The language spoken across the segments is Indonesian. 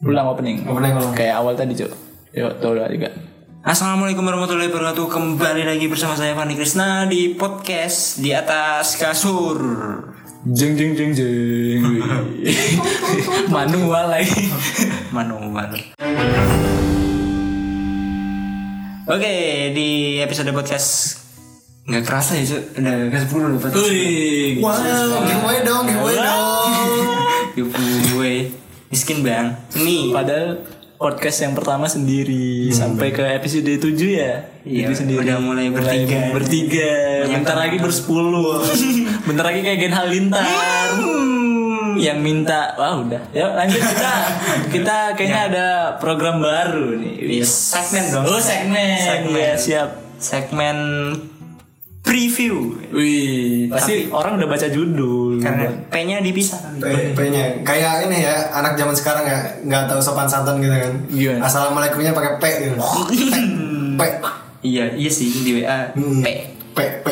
Ulang opening. Opening, ulang. Kayak awal tadi, Cuk. Yuk, tuh udah tiga. Assalamualaikum warahmatullahi wabarakatuh Kembali lagi bersama saya Fani Krisna Di podcast di atas kasur Jeng jeng jeng jeng. Manual lagi. Manual Oke di episode podcast Nggak kerasa ya Cuk Udah ke 10 udah podcast Wih. Wow, giveaway dong, giveaway dong. Giveaway. Miskin bang Nih Padahal podcast yang pertama sendiri sampai ke episode 7 ya. Iya, Jadi sendiri. udah mulai bertiga. Iya, bertiga. Bentar lagi bersepuluh. Bentar lagi kayak Gen Halilintar. Hmm. yang minta wah udah ya lanjut kita kita kayaknya Iya. ada program baru nih Segmen dong. oh segmen Iya. Segmen. Iya, siap Segmen Preview Wih, pasti orang udah baca judul. Karena P-nya dipisah P- P-nya kayak ini ya anak zaman sekarang ya nggak tahu sopan santun gitu kan. Gimana? Assalamualaikumnya pakai P gitu. P Iya iya sih di WA Hmm. P P P.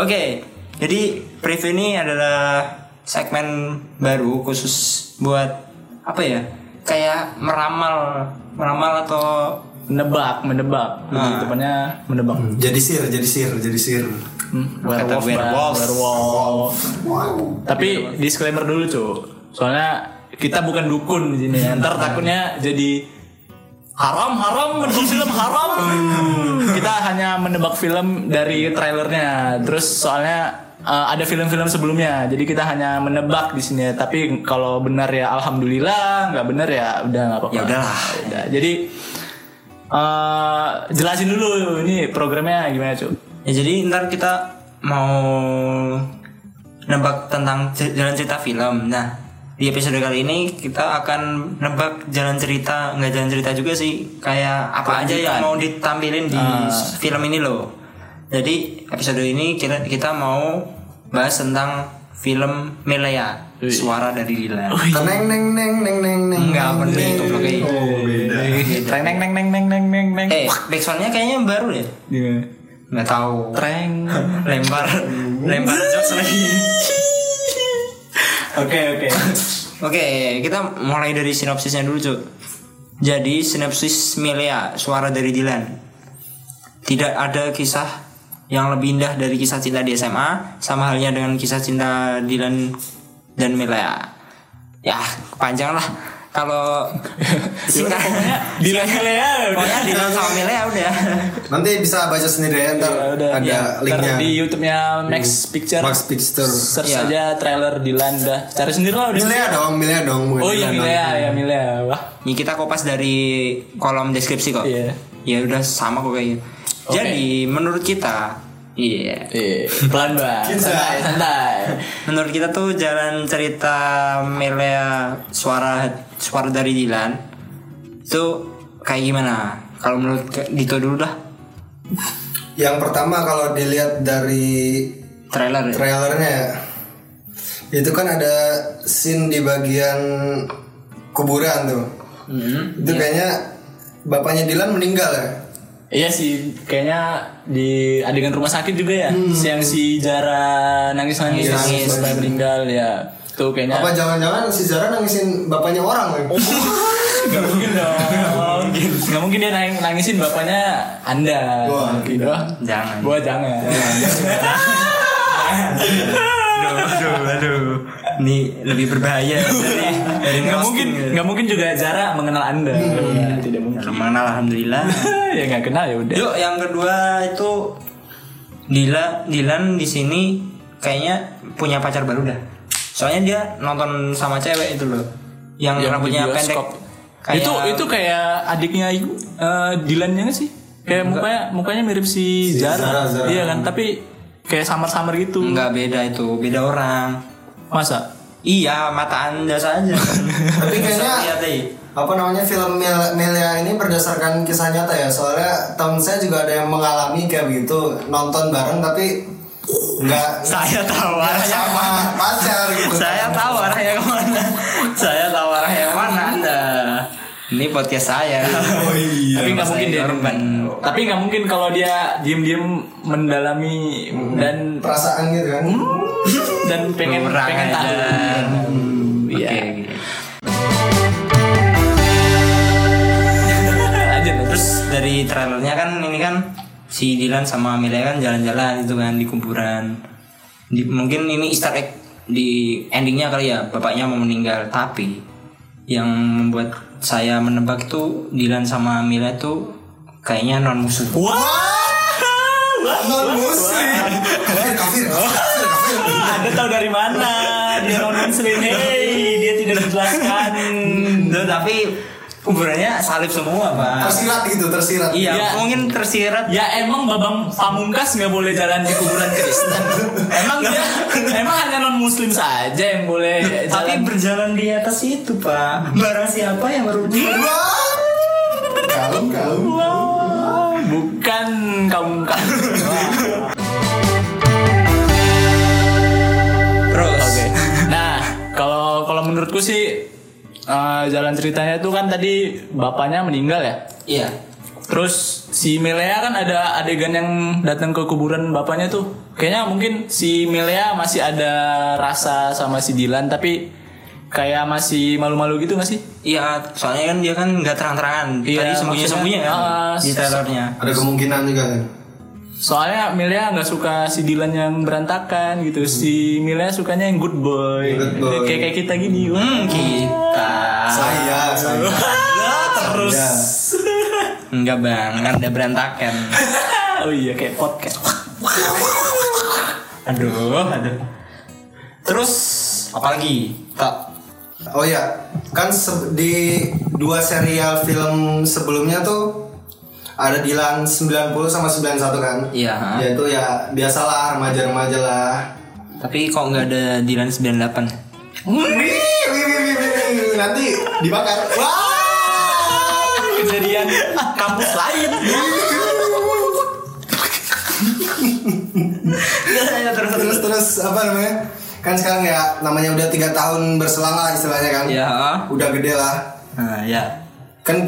Oke, jadi preview ini adalah segmen baru khusus buat apa ya? Kayak meramal, meramal atau menebak, menebak. Lebih Ah. tepatnya menebak. Jadi sir, jadi sir, jadi sir. Hmm, Bang. Werewolf, werewolf. Werewolf. Wow. Tapi disclaimer dulu, Cuk. Soalnya kita bukan dukun di sini. ya. Ntar takutnya jadi haram, haram, menebak film haram. kita hanya menebak film dari trailernya. Terus soalnya eh, ada film-film sebelumnya, jadi kita hanya menebak di sini. Tapi kalau benar ya alhamdulillah, nggak benar ya udah nggak apa-apa. Ya udahlah. Udah, Jadi eh, jelasin dulu ini programnya gimana cuy? ya jadi ntar kita mau nebak tentang cer- jalan cerita film. Nah, di episode kali ini kita akan nebak jalan cerita, nggak jalan cerita juga sih, kayak apa aja yang mau ditampilin di s- film ini loh. Jadi episode ini kira kita mau bahas tentang film Melea, Suara dari Lila. Neng neng neng neng neng neng. Nggak penting itu pakai. Oh beda. Treng neng neng neng neng neng neng neng. Eh, backsoundnya kayaknya baru ya? Gimana? Nggak tahu. Treng. Lempar, lempar jokes lagi. Oke oke. Oke, kita mulai dari sinopsisnya dulu, Cuk. Jadi, sinopsis Milea, suara dari Dylan. Tidak ada kisah yang lebih indah dari kisah cinta di SMA, sama halnya dengan kisah cinta Dylan dan Milea. Ya, panjang lah. Kalau singkat, Dilan Milea. pokoknya Dylan sama Milea udah. Nanti bisa baca sendiri ya ntar ada linknya. Iya, Ntar di YouTube-nya Max Picture. Max Picture. Search Iya. aja trailer Dilan dah. Cari sendiri lah udah. Milea dong, Milea dong. bukan Oh iya Dylan dong. Milea ya Milea. Wah. Ini kita kopas dari kolom deskripsi kok. Iya. Ya udah sama kok kayaknya. Oke. Jadi, menurut kita, iya. Iya. Pelan banget. Santai. Santai. Menurut kita tuh jalan cerita Melea suara suara dari Dilan itu kayak gimana? Kalau menurut Ke- Dito dulu dah Yang pertama kalau dilihat dari trailer. ya? trailernya itu kan ada scene di bagian kuburan tuh Mm-hmm. itu Iya. kayaknya bapaknya Dilan meninggal ya Iya sih, kayaknya di adegan rumah sakit juga ya, siang si Jara nangis-nangis, Iya, nangis, nangis. sampai meninggal ya. Tuh kayaknya. apa jangan-jangan si Zara nangisin bapaknya orang ya? Oh. Gak mungkin dong. Gak mungkin dia nang- nangisin bapaknya Anda. Gitu. Wah, Mungkin. Wah, Jangan. Gua jangan. Aduh, aduh. Ini lebih berbahaya dari dari Gak mungkin, gak mungkin juga Zara mengenal Anda. Ya, tidak mungkin. Mengenal alhamdulillah. ya nggak kenal ya udah. Yuk, yang kedua itu Dila Dilan di sini kayaknya punya pacar baru dah. Soalnya dia nonton sama cewek itu loh. Yang Yang, di rambutnya pendek. bioskop. Itu itu kayak adiknya eh, Dilannya nggak sih? Kayak mukanya mukanya mirip si, Zara. Zara, Zara. Iya kan, tapi kayak samar-samar gitu. Enggak beda itu, beda orang. Masa? Iya, mata Anda saja. Tapi kayaknya- Bisa dilihat, eh. apa namanya film Mel- Melia ini berdasarkan kisah nyata ya soalnya teman saya juga ada yang mengalami kayak begitu nonton bareng tapi nggak saya tahu nggak arahnya sama pacar gitu Saya tahu arahnya kemana. saya tahu arahnya kemana Anda. Ini podcast saya. oh iya tapi nggak Mas mungkin Ayi dia korban. tapi nggak mungkin kalau dia diem-diem mendalami dan perasaan gitu kan Hmm. dan pengen Kurang pengen tahu Iya. ajar. Hmm, Oke. iya oke. di trailernya kan ini kan si Dylan sama Amelia kan jalan-jalan itu kan di kuburan. Di- mungkin ini Easter egg di endingnya kali ya bapaknya mau meninggal tapi yang membuat saya menebak itu Dylan sama Amelia tuh kayaknya non musuh. Wah. non muslim kafir kafir kafir kafir Anda tahu dari mana? Dia non muslim. Hey, dia tidak menjelaskan. Tuh, tapi kuburannya salib semua pak. tersirat gitu tersirat Iya, Iya. mungkin tersirat Ya emang babang pamungkas nggak boleh jalan di kuburan Kristen. Emang dia, emang hanya non muslim saja yang boleh Tapi jalan. berjalan di atas itu pak Barang siapa yang merugi Wah. Gaum gaum Wah, bukan kaum kaum. Terus Oke. Nah, kalau kalau menurutku sih eh, jalan ceritanya itu kan tadi bapaknya meninggal ya. Iya Terus si Milea kan ada adegan yang datang ke kuburan bapaknya tuh. Kayaknya mungkin si Milea masih ada rasa sama si Dilan tapi kayak masih malu-malu gitu gak sih? Iya soalnya kan dia kan nggak terang-terangan Iya, Tadi sembunyi-sembunyi kan maksudnya, ah, Di se- trailernya ada kemungkinan juga kan Soalnya Milea nggak suka si Dilan yang berantakan gitu. Hmm. Si Milea sukanya yang good boy. Good boy. Kayak kayak kita gini. Wah. Hmm, Kita saya saya terus. Ya. Enggak bang Anda berantakan Oh iya kayak podcast. Aduh Aduh Terus Apalagi Tak oh ya kan se- di dua serial film sebelumnya tuh ada Dilan 90 sama 91 kan Iya ha. ya itu ya biasalah remaja-remaja lah Tapi kok nggak ada Dylan 98 Wih, wih, wih, wih, wih. nanti dibakar wah kejadian kampus lain terus terus terus apa namanya kan sekarang ya namanya udah tiga tahun berselang lah istilahnya kan Iya ha. udah gede lah Nah ya kan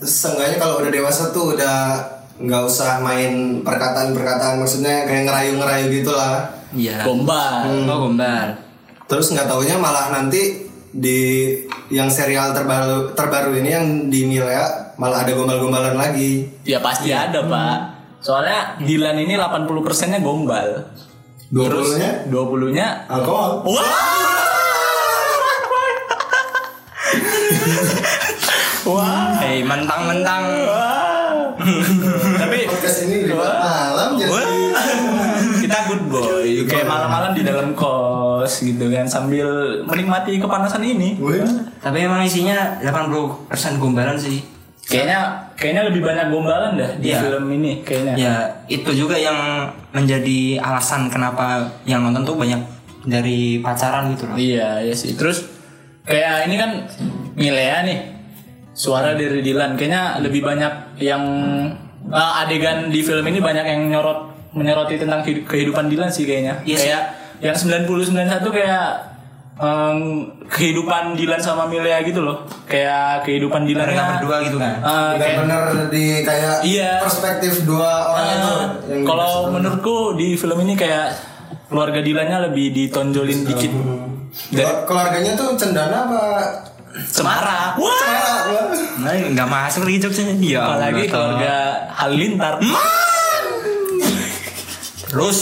seenggaknya kalau udah dewasa tuh udah nggak usah main perkataan-perkataan maksudnya kayak ngerayu-ngerayu gitu lah Iya gombal Oh gombal terus nggak taunya malah nanti di yang serial terbaru terbaru ini yang di Milea malah ada gombal-gombalan lagi ya pasti Iya. ada pak Hmm. soalnya Dilan ini 80 persennya gombal 20 nya 20 nya alkohol wah wah Hei mentang-mentang tapi podcast ini dibuat malam jadi kita good boy kayak malam-malam di dalam kos gitu kan sambil menikmati kepanasan ini Wih. Tapi emang isinya 80% gombalan sih kayaknya kayaknya lebih banyak gombalan dah di Iya. film ini kayaknya Ya itu juga yang menjadi alasan kenapa yang nonton tuh banyak dari pacaran gitu loh Iya, iya sih. Terus kayak ini kan Milea nih. Suara Hmm. dari Dilan kayaknya lebih banyak yang eh, adegan di film ini banyak yang nyorot menyoroti tentang kehidu- kehidupan Dilan sih kayaknya. Iya sih. kayak yang 90 91 kayak em, kehidupan Dilan sama Milea gitu loh. Kayak kehidupan Dilan Mereka yang- berdua gitu kan eh, kayak- benar-benar di kayak Iya. Ah. perspektif dua orang itu yang kalau menurutku di film ini kayak keluarga Dilannya lebih ditonjolin dikit. Iya. Dari keluarganya tuh cendana apa Ah, Semara. cemara apa? Nah, nggak masuk di jokesnya Iya, dia Apalagi keluarga Halilintar. Terus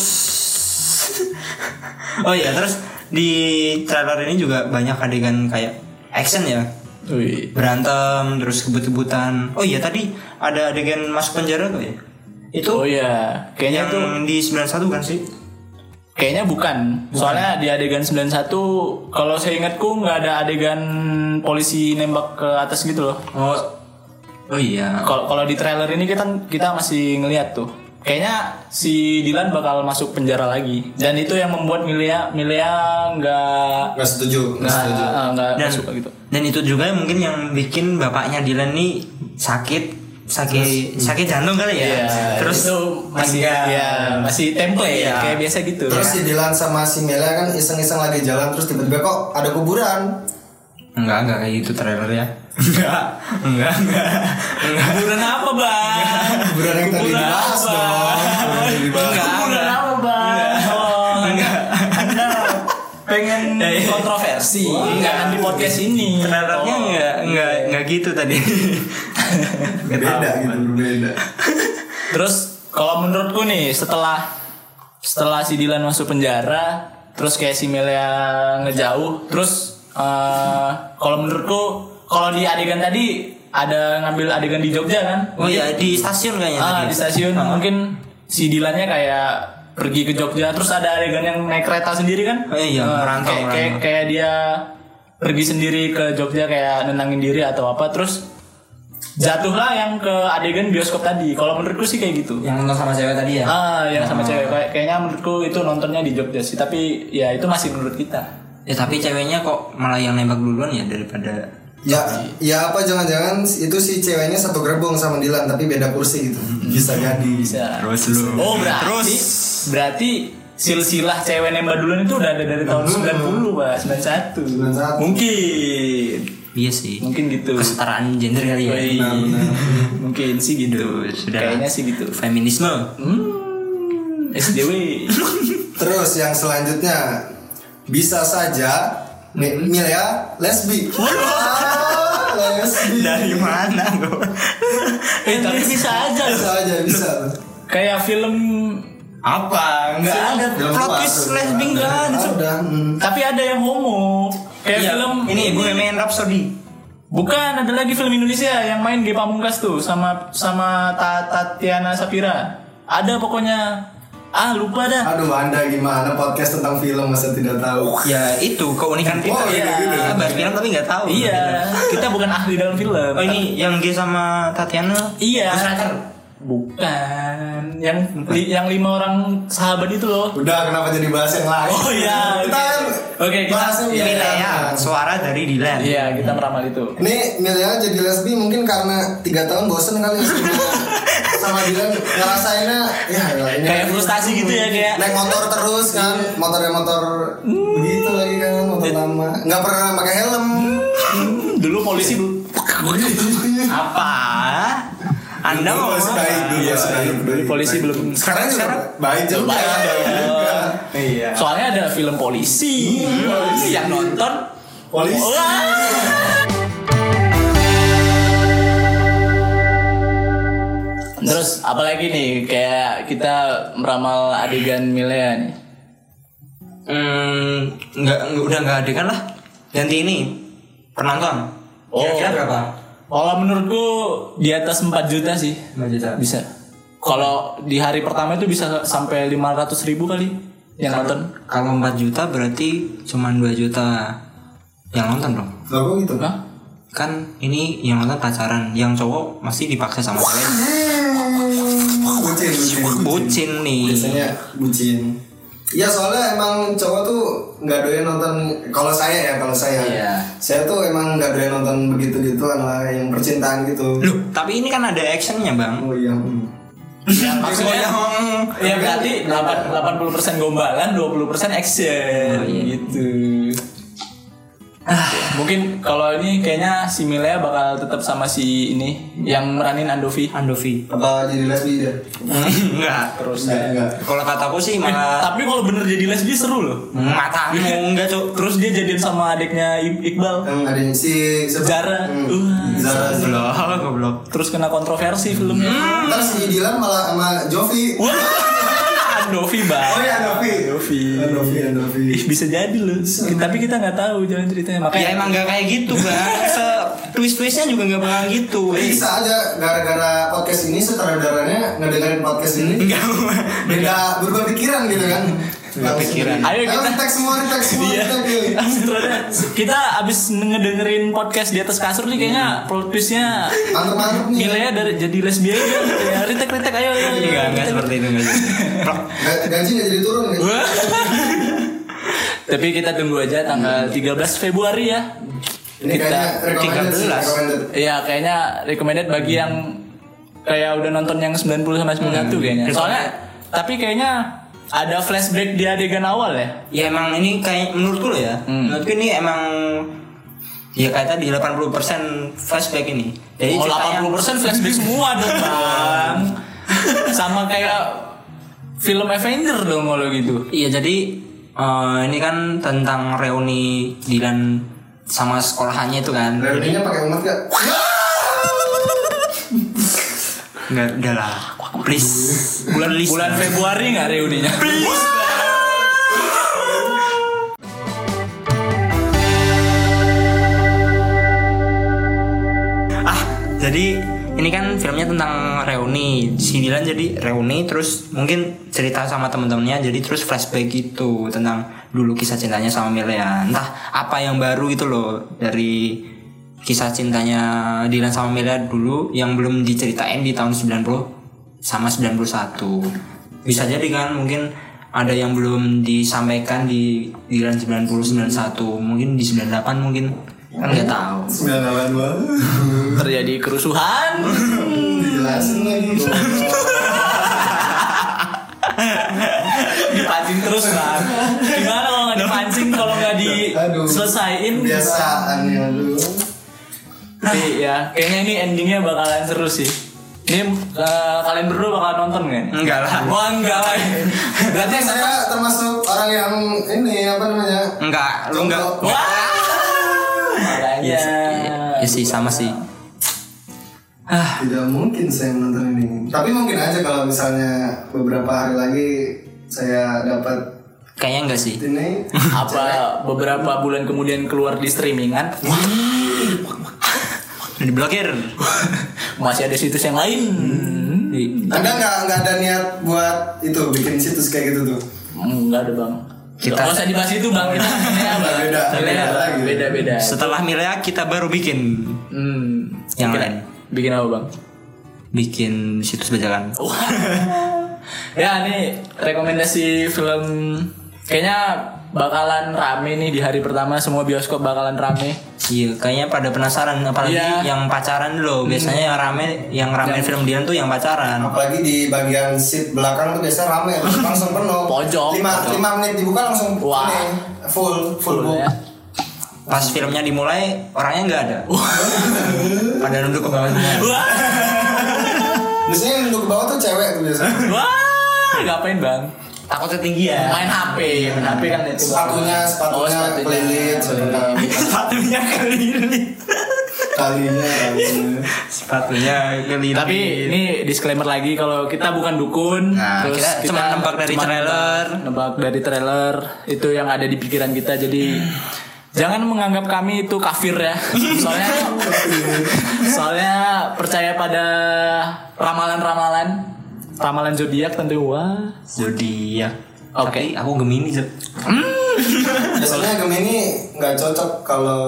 Oh iya terus di trailer ini juga banyak adegan kayak action ya Wih. Berantem terus kebut-kebutan Oh iya tadi ada adegan masuk penjara tuh ya Itu Oh iya, kayaknya yang itu di 91 kan sih kayaknya bukan. Soalnya di adegan 91 kalau saya ingatku nggak ada adegan polisi nembak ke atas gitu loh. Oh Oh iya Kalau kalau di trailer ini kita kita masih ngelihat tuh. Kayaknya si Dilan bakal masuk penjara lagi. Dan itu yang membuat Milea Milea nggak nggak setuju nggak nggak setuju nggak Dan- suka gitu. Dan itu juga mungkin yang bikin bapaknya Dylan nih sakit sakit sakit jantung kali ya. iya. Terus itu masih meninggal. ya, masih template Iya. ya, kayak biasa gitu. terus si Dilan sama si Mela kan iseng-iseng lagi jalan terus tiba-tiba kok ada kuburan enggak enggak kayak gitu trailer ya. enggak, enggak, enggak. Enggak. Kuburan apa bang? kuburan yang tadi Kuburan dibahas apa? dong Kuburan yang dibahas. Kuburan apa bang? Oh, enggak. Anda pengen Eh, iya. kontroversi jangan di podcast ini. Trailernya Oh. enggak enggak enggak gitu tadi. beda gitu berbeda Terus kalau menurutku nih setelah setelah si Dilan masuk penjara, terus kayak si Melia ngejauh, terus eh, kalau menurutku kalau di adegan tadi ada ngambil adegan di Jogja kan? Oh iya di stasiun kayaknya Ah, tadi. di stasiun mungkin si Dilannya kayak pergi ke Jogja, terus ada adegan yang naik kereta sendiri kan? Eh, iya, Eh, merantau, kayak, kayak, merantau. kayak dia pergi sendiri ke Jogja kayak nenangin diri atau apa, terus jatuhlah yang ke adegan bioskop tadi. Kalau menurutku sih kayak gitu. Yang nonton sama cewek tadi ya. Ah, yang sama cewek. Kayak- Kayaknya menurutku itu nontonnya di Jogja sih, tapi ya itu masih menurut kita. Ya tapi ceweknya kok malah yang nembak duluan ya daripada ya ya apa jangan-jangan itu si ceweknya satu gerbong sama Dilan tapi beda kursi gitu bisa jadi Bisa. Terus lu. Oh, berarti Terus. berarti silsilah cewek nembak duluan itu udah ada dari tahun 90, Pak. 91. 91. Mungkin. Iya sih. Mungkin gitu. Kesetaraan gender kali ya. Woi. Iya. Mungkin sih gitu. Sudah. Kayaknya sih gitu. Feminisme. Hmm. SDW. terus yang selanjutnya bisa saja Mi- Milea lesbi Ah, lesbi Dari mana kok? eh, tapi bisa aja. bisa aja bisa Kayak film apa? Enggak ada. Film Plot apa twist tuh? lesbi nggak ada. Cuk. ada hmm. Tapi ada yang homo. Kayak Iya, film ini Bohemian Rhapsody. Bukan, ada lagi film Indonesia yang main G Pamungkas tuh sama sama Ta- Tatiana Sapira. Ada pokoknya. Ah, lupa dah. aduh anda gimana podcast tentang film masa tidak tahu Ya itu keunikan kita. Oh, iya, gitu ya. Bahas film tapi nggak tahu. Iya, kita bukan ahli dalam film. Ah, Oh ini yang G sama Tatiana. Iya. Ghost Rider. Bukan yang li- yang lima orang sahabat itu loh. udah kenapa jadi bahas yang lain Oh, iya, kita oke. kan Oke, kita- bahasnya Ini Milea. lah ya suara dari Dilan. Iya, kita meramal itu. Ini Milea jadi lesbi mungkin karena tiga tahun bosen kali sama- sama Dilan ngerasainnya ya, ya ini Kayak lagi. frustasi gitu ya, kayak. Iya. naik motor terus kan motornya motor begitu lagi kan motor lama nggak pernah pakai helm Dulu polisi Iya. bu. Apa? Anda mau Dulu sudah apa? dulu sudah Dulu Iya, polisi belum. sekarang juga baik juga Iya. Soalnya ada film polisi, yang nonton. polisi Wah. Terus apalagi nih kayak kita meramal adegan Milea nih. Hmm, nggak nggak- udah nggak adegan lah. Ganti ini penonton. Oh. Kira-kira berapa? Kalau menurutku di atas 4 juta sih juta. bisa. Kalau di hari pertama itu bisa sampai 500 ribu kali yang nonton. Kalau 4 juta berarti cuman 2 juta yang nonton dong. Lah, kok gitu Hah? Kan ini yang nonton pacaran, yang cowok masih dipaksa sama cewek. bucin bucin Bucin nih. biasanya bucin ya soalnya emang cowok tuh nggak doyan nonton kalau saya ya kalau saya Iya. saya tuh emang nggak doyan nonton begitu gituan lah yang percintaan gitu Loh, tapi ini kan ada actionnya bang. oh iya Ya, maksudnya Goyang. ya berarti 8- 80% gombalan, 20% action gitu. Ah, Mungkin kalau ini kayaknya si Milea bakal tetap sama si ini yang meranin Andovi. Andovi. apa jadi lesbi ya Enggak. Terus enggak enggak Kalau kataku sih malah tapi kalau bener jadi lesbi seru loh. matamu enggak cuk. Terus dia jadian sama adiknya I- Iqbal. yang ada yang si siapa? Zara. Hmm. Uh. Zara Zara. Goblok, goblok. Terus kena kontroversi filmnya. ntar si Dilan malah sama Jovi Wah, Andovi oh banget. iya Oh, Novi Novi. Novi Novi Ih, bisa jadi loh. Tapi kita nggak tahu jalan ceritanya. Ya Makanya emang gak kayak gitu bang. Se twist twistnya juga gak bakal gitu. bisa aja gara-gara podcast ini sutradaranya ngedengerin podcast ini Enggak. beda berubah pikiran gitu kan Berubah pikiran. Ayo Ayo kita- teks semua, teks semua, Iya. kita pilih. Sebenarnya kita abis ngedengerin podcast di atas kasur nih kayaknya plot twistnya Mantep-mantep nih. nilainya dari jadi lesbian aja. Ya, Ritek ritek ayo ayo. ayo. Enggak, enggak seperti itu enggak. gitu. Plok. Ga- Gaji nggak jadi turun kan? Wah. Tapi kita tunggu aja tanggal 13 Februari ya. Ini kayaknya recommended sih, 13. recommended. Iya kayaknya recommended bagi yang kayak udah nonton yang 90 sama 91 kayaknya. Soalnya tapi kayaknya ada flashback di adegan awal ya. Ya emang ini kayak menurutku loh ya. Menurutku ini emang ya kayak tadi 80% flashback ini. Jadi Oh, ceritanya 80% flashback semua dong, Bang. Sama kayak film Avenger dong kalau gitu. Iya jadi eh, ini kan tentang reuni Dilan sama sekolahannya itu kan. Reuninya pakai umat gak? Nggak, udah lah. Please. bulan bulan Februari nggak reuninya Ah, jadi ini kan filmnya tentang reuni. Si Dilan jadi reuni terus mungkin cerita sama temen-temennya jadi terus flashback gitu tentang dulu kisah cintanya sama Milea. Entah apa yang baru itu loh dari kisah cintanya Dilan sama Milea dulu yang belum diceritain di tahun 90 sama 91. Bisa jadi kan mungkin ada yang belum disampaikan di Dilan 90 91, mungkin di 98 mungkin kan nggak tahu. Sembilan delapan dua. terjadi kerusuhan Jelasin lagi. dipancing terus kan gimana kalau nggak dipancing kalau nggak Aduh. diselesain Biasaan ya lu. tapi ya kayaknya ini endingnya bakalan seru sih ini eh, kalian berdua bakal nonton kan Enggak lah. wah enggak Iya lah berarti Tapi saya termasuk orang yang ini apa namanya? Enggak, lu enggak. Jomblo. wah Iya makanya ya sih sama sih. Tidak mungkin saya menonton ini. Tapi mungkin aja kalau misalnya beberapa hari lagi saya dapat Kayaknya enggak sih. ini apa beberapa bulan kemudian keluar di streamingan Diblokir. masih ada situs yang lain Anda nggak nggak ada niat buat itu bikin situs kayak gitu tuh? enggak ada bang kita Kita- nggak usah dibahas itu bang kita nilainya apa? Beda, Nilainya beda apa? lagi. beda beda Setelah Mirea kita baru bikin hmm. Yang Bikin- lain. bikin apa bang bikin situs bajakan. Wah. ya nih rekomendasi film kayaknya bakalan rame nih di hari pertama semua bioskop bakalan rame Iya, kayaknya pada penasaran apalagi Iya. yang pacaran loh. Biasanya yang rame yang rame film Dilan tuh yang pacaran. Apalagi di bagian seat belakang tuh biasa rame, langsung penuh. Pojok. Lima, lima menit dibuka langsung Wah. ini, full, full, book. ya. Pas filmnya dimulai orangnya enggak ada. pada nunduk ke bawah semua. Wah. Biasanya yang duduk ke bawah tuh cewek tuh biasanya. Oh, Wah, ngapain bang? Takut ketinggian. Main HP, main HP kan itu. Sepatunya, Oh, sepatunya, sepatunya. kelilit, sepatunya, Sepatunya kelilit. talinya, talinya. Sepatunya kelilit. Tapi ini disclaimer lagi kalau kita bukan dukun, Nah, kita cuma nebak dari cuma trailer. nebak- nebak dari trailer itu yang ada di pikiran kita. Jadi jangan menganggap kami itu kafir ya. Soalnya soalnya percaya pada ramalan-ramalan, ramalan zodiak tentu wah. zodiak. Oke. Tapi aku Gemini, Zod. Biasanya Gemini nggak cocok kalau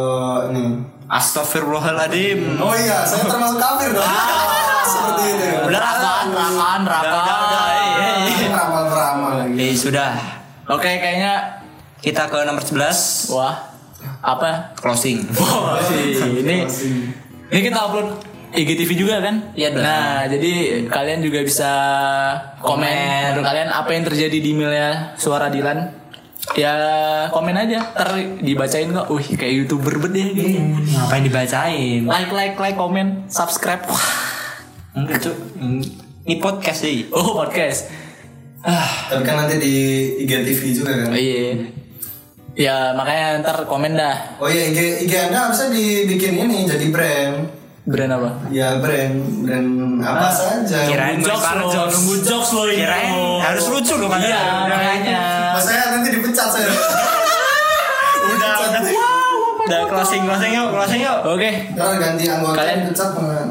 ini. Astagfirullahaladzim. Oh iya, saya termasuk kafir dong. Ah. Seperti itu. Udah rakan, rakan, rakan. Ramal-ramal lagi. Oke, Eh, sudah. Oke, kayaknya Kita ke nomor 11. wah apa? Closing. Wah, sih ini Ini kita upload IGTV juga kan? Iya dong. Nah, jadi kalian juga bisa komen, Komen. menurut kalian apa yang terjadi di milnya Suara Dilan. Ya komen aja, ter dibacain kok. Wih, kayak youtuber banget ya kayaknya. Ngapain dibacain? Like, like, like, komen, subscribe. Wah. Enggak, Cuk. Ini podcast sih. Oh, podcast. Tapi kan nanti di IGTV juga kan. Oh, iya. Ya makanya ntar komen dah Oh iya, IG, IG Anda harusnya dibikin ini jadi brand. brand apa? Ya brand, brand apa Ah, saja. kirain- Nunggu Jokes banget, lo, jokes. nunggu jokes lo ini. Kirain lo. harus lucu loh, padahal. Iya, makanya. Mas saya nanti dipecat saya. Udah, udah. Udah closing, closing yuk, closing yuk. Oke, Kalau ganti anggota Kalian- Kalian pecat pengen.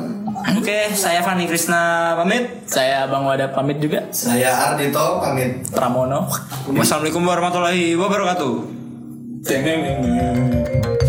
Oke, saya Fani Krisna pamit. saya Bang Wada pamit juga. Saya Ardito pamit. Pramono. Wassalamualaikum warahmatullahi wabarakatuh. Teng, teng, teng, teng.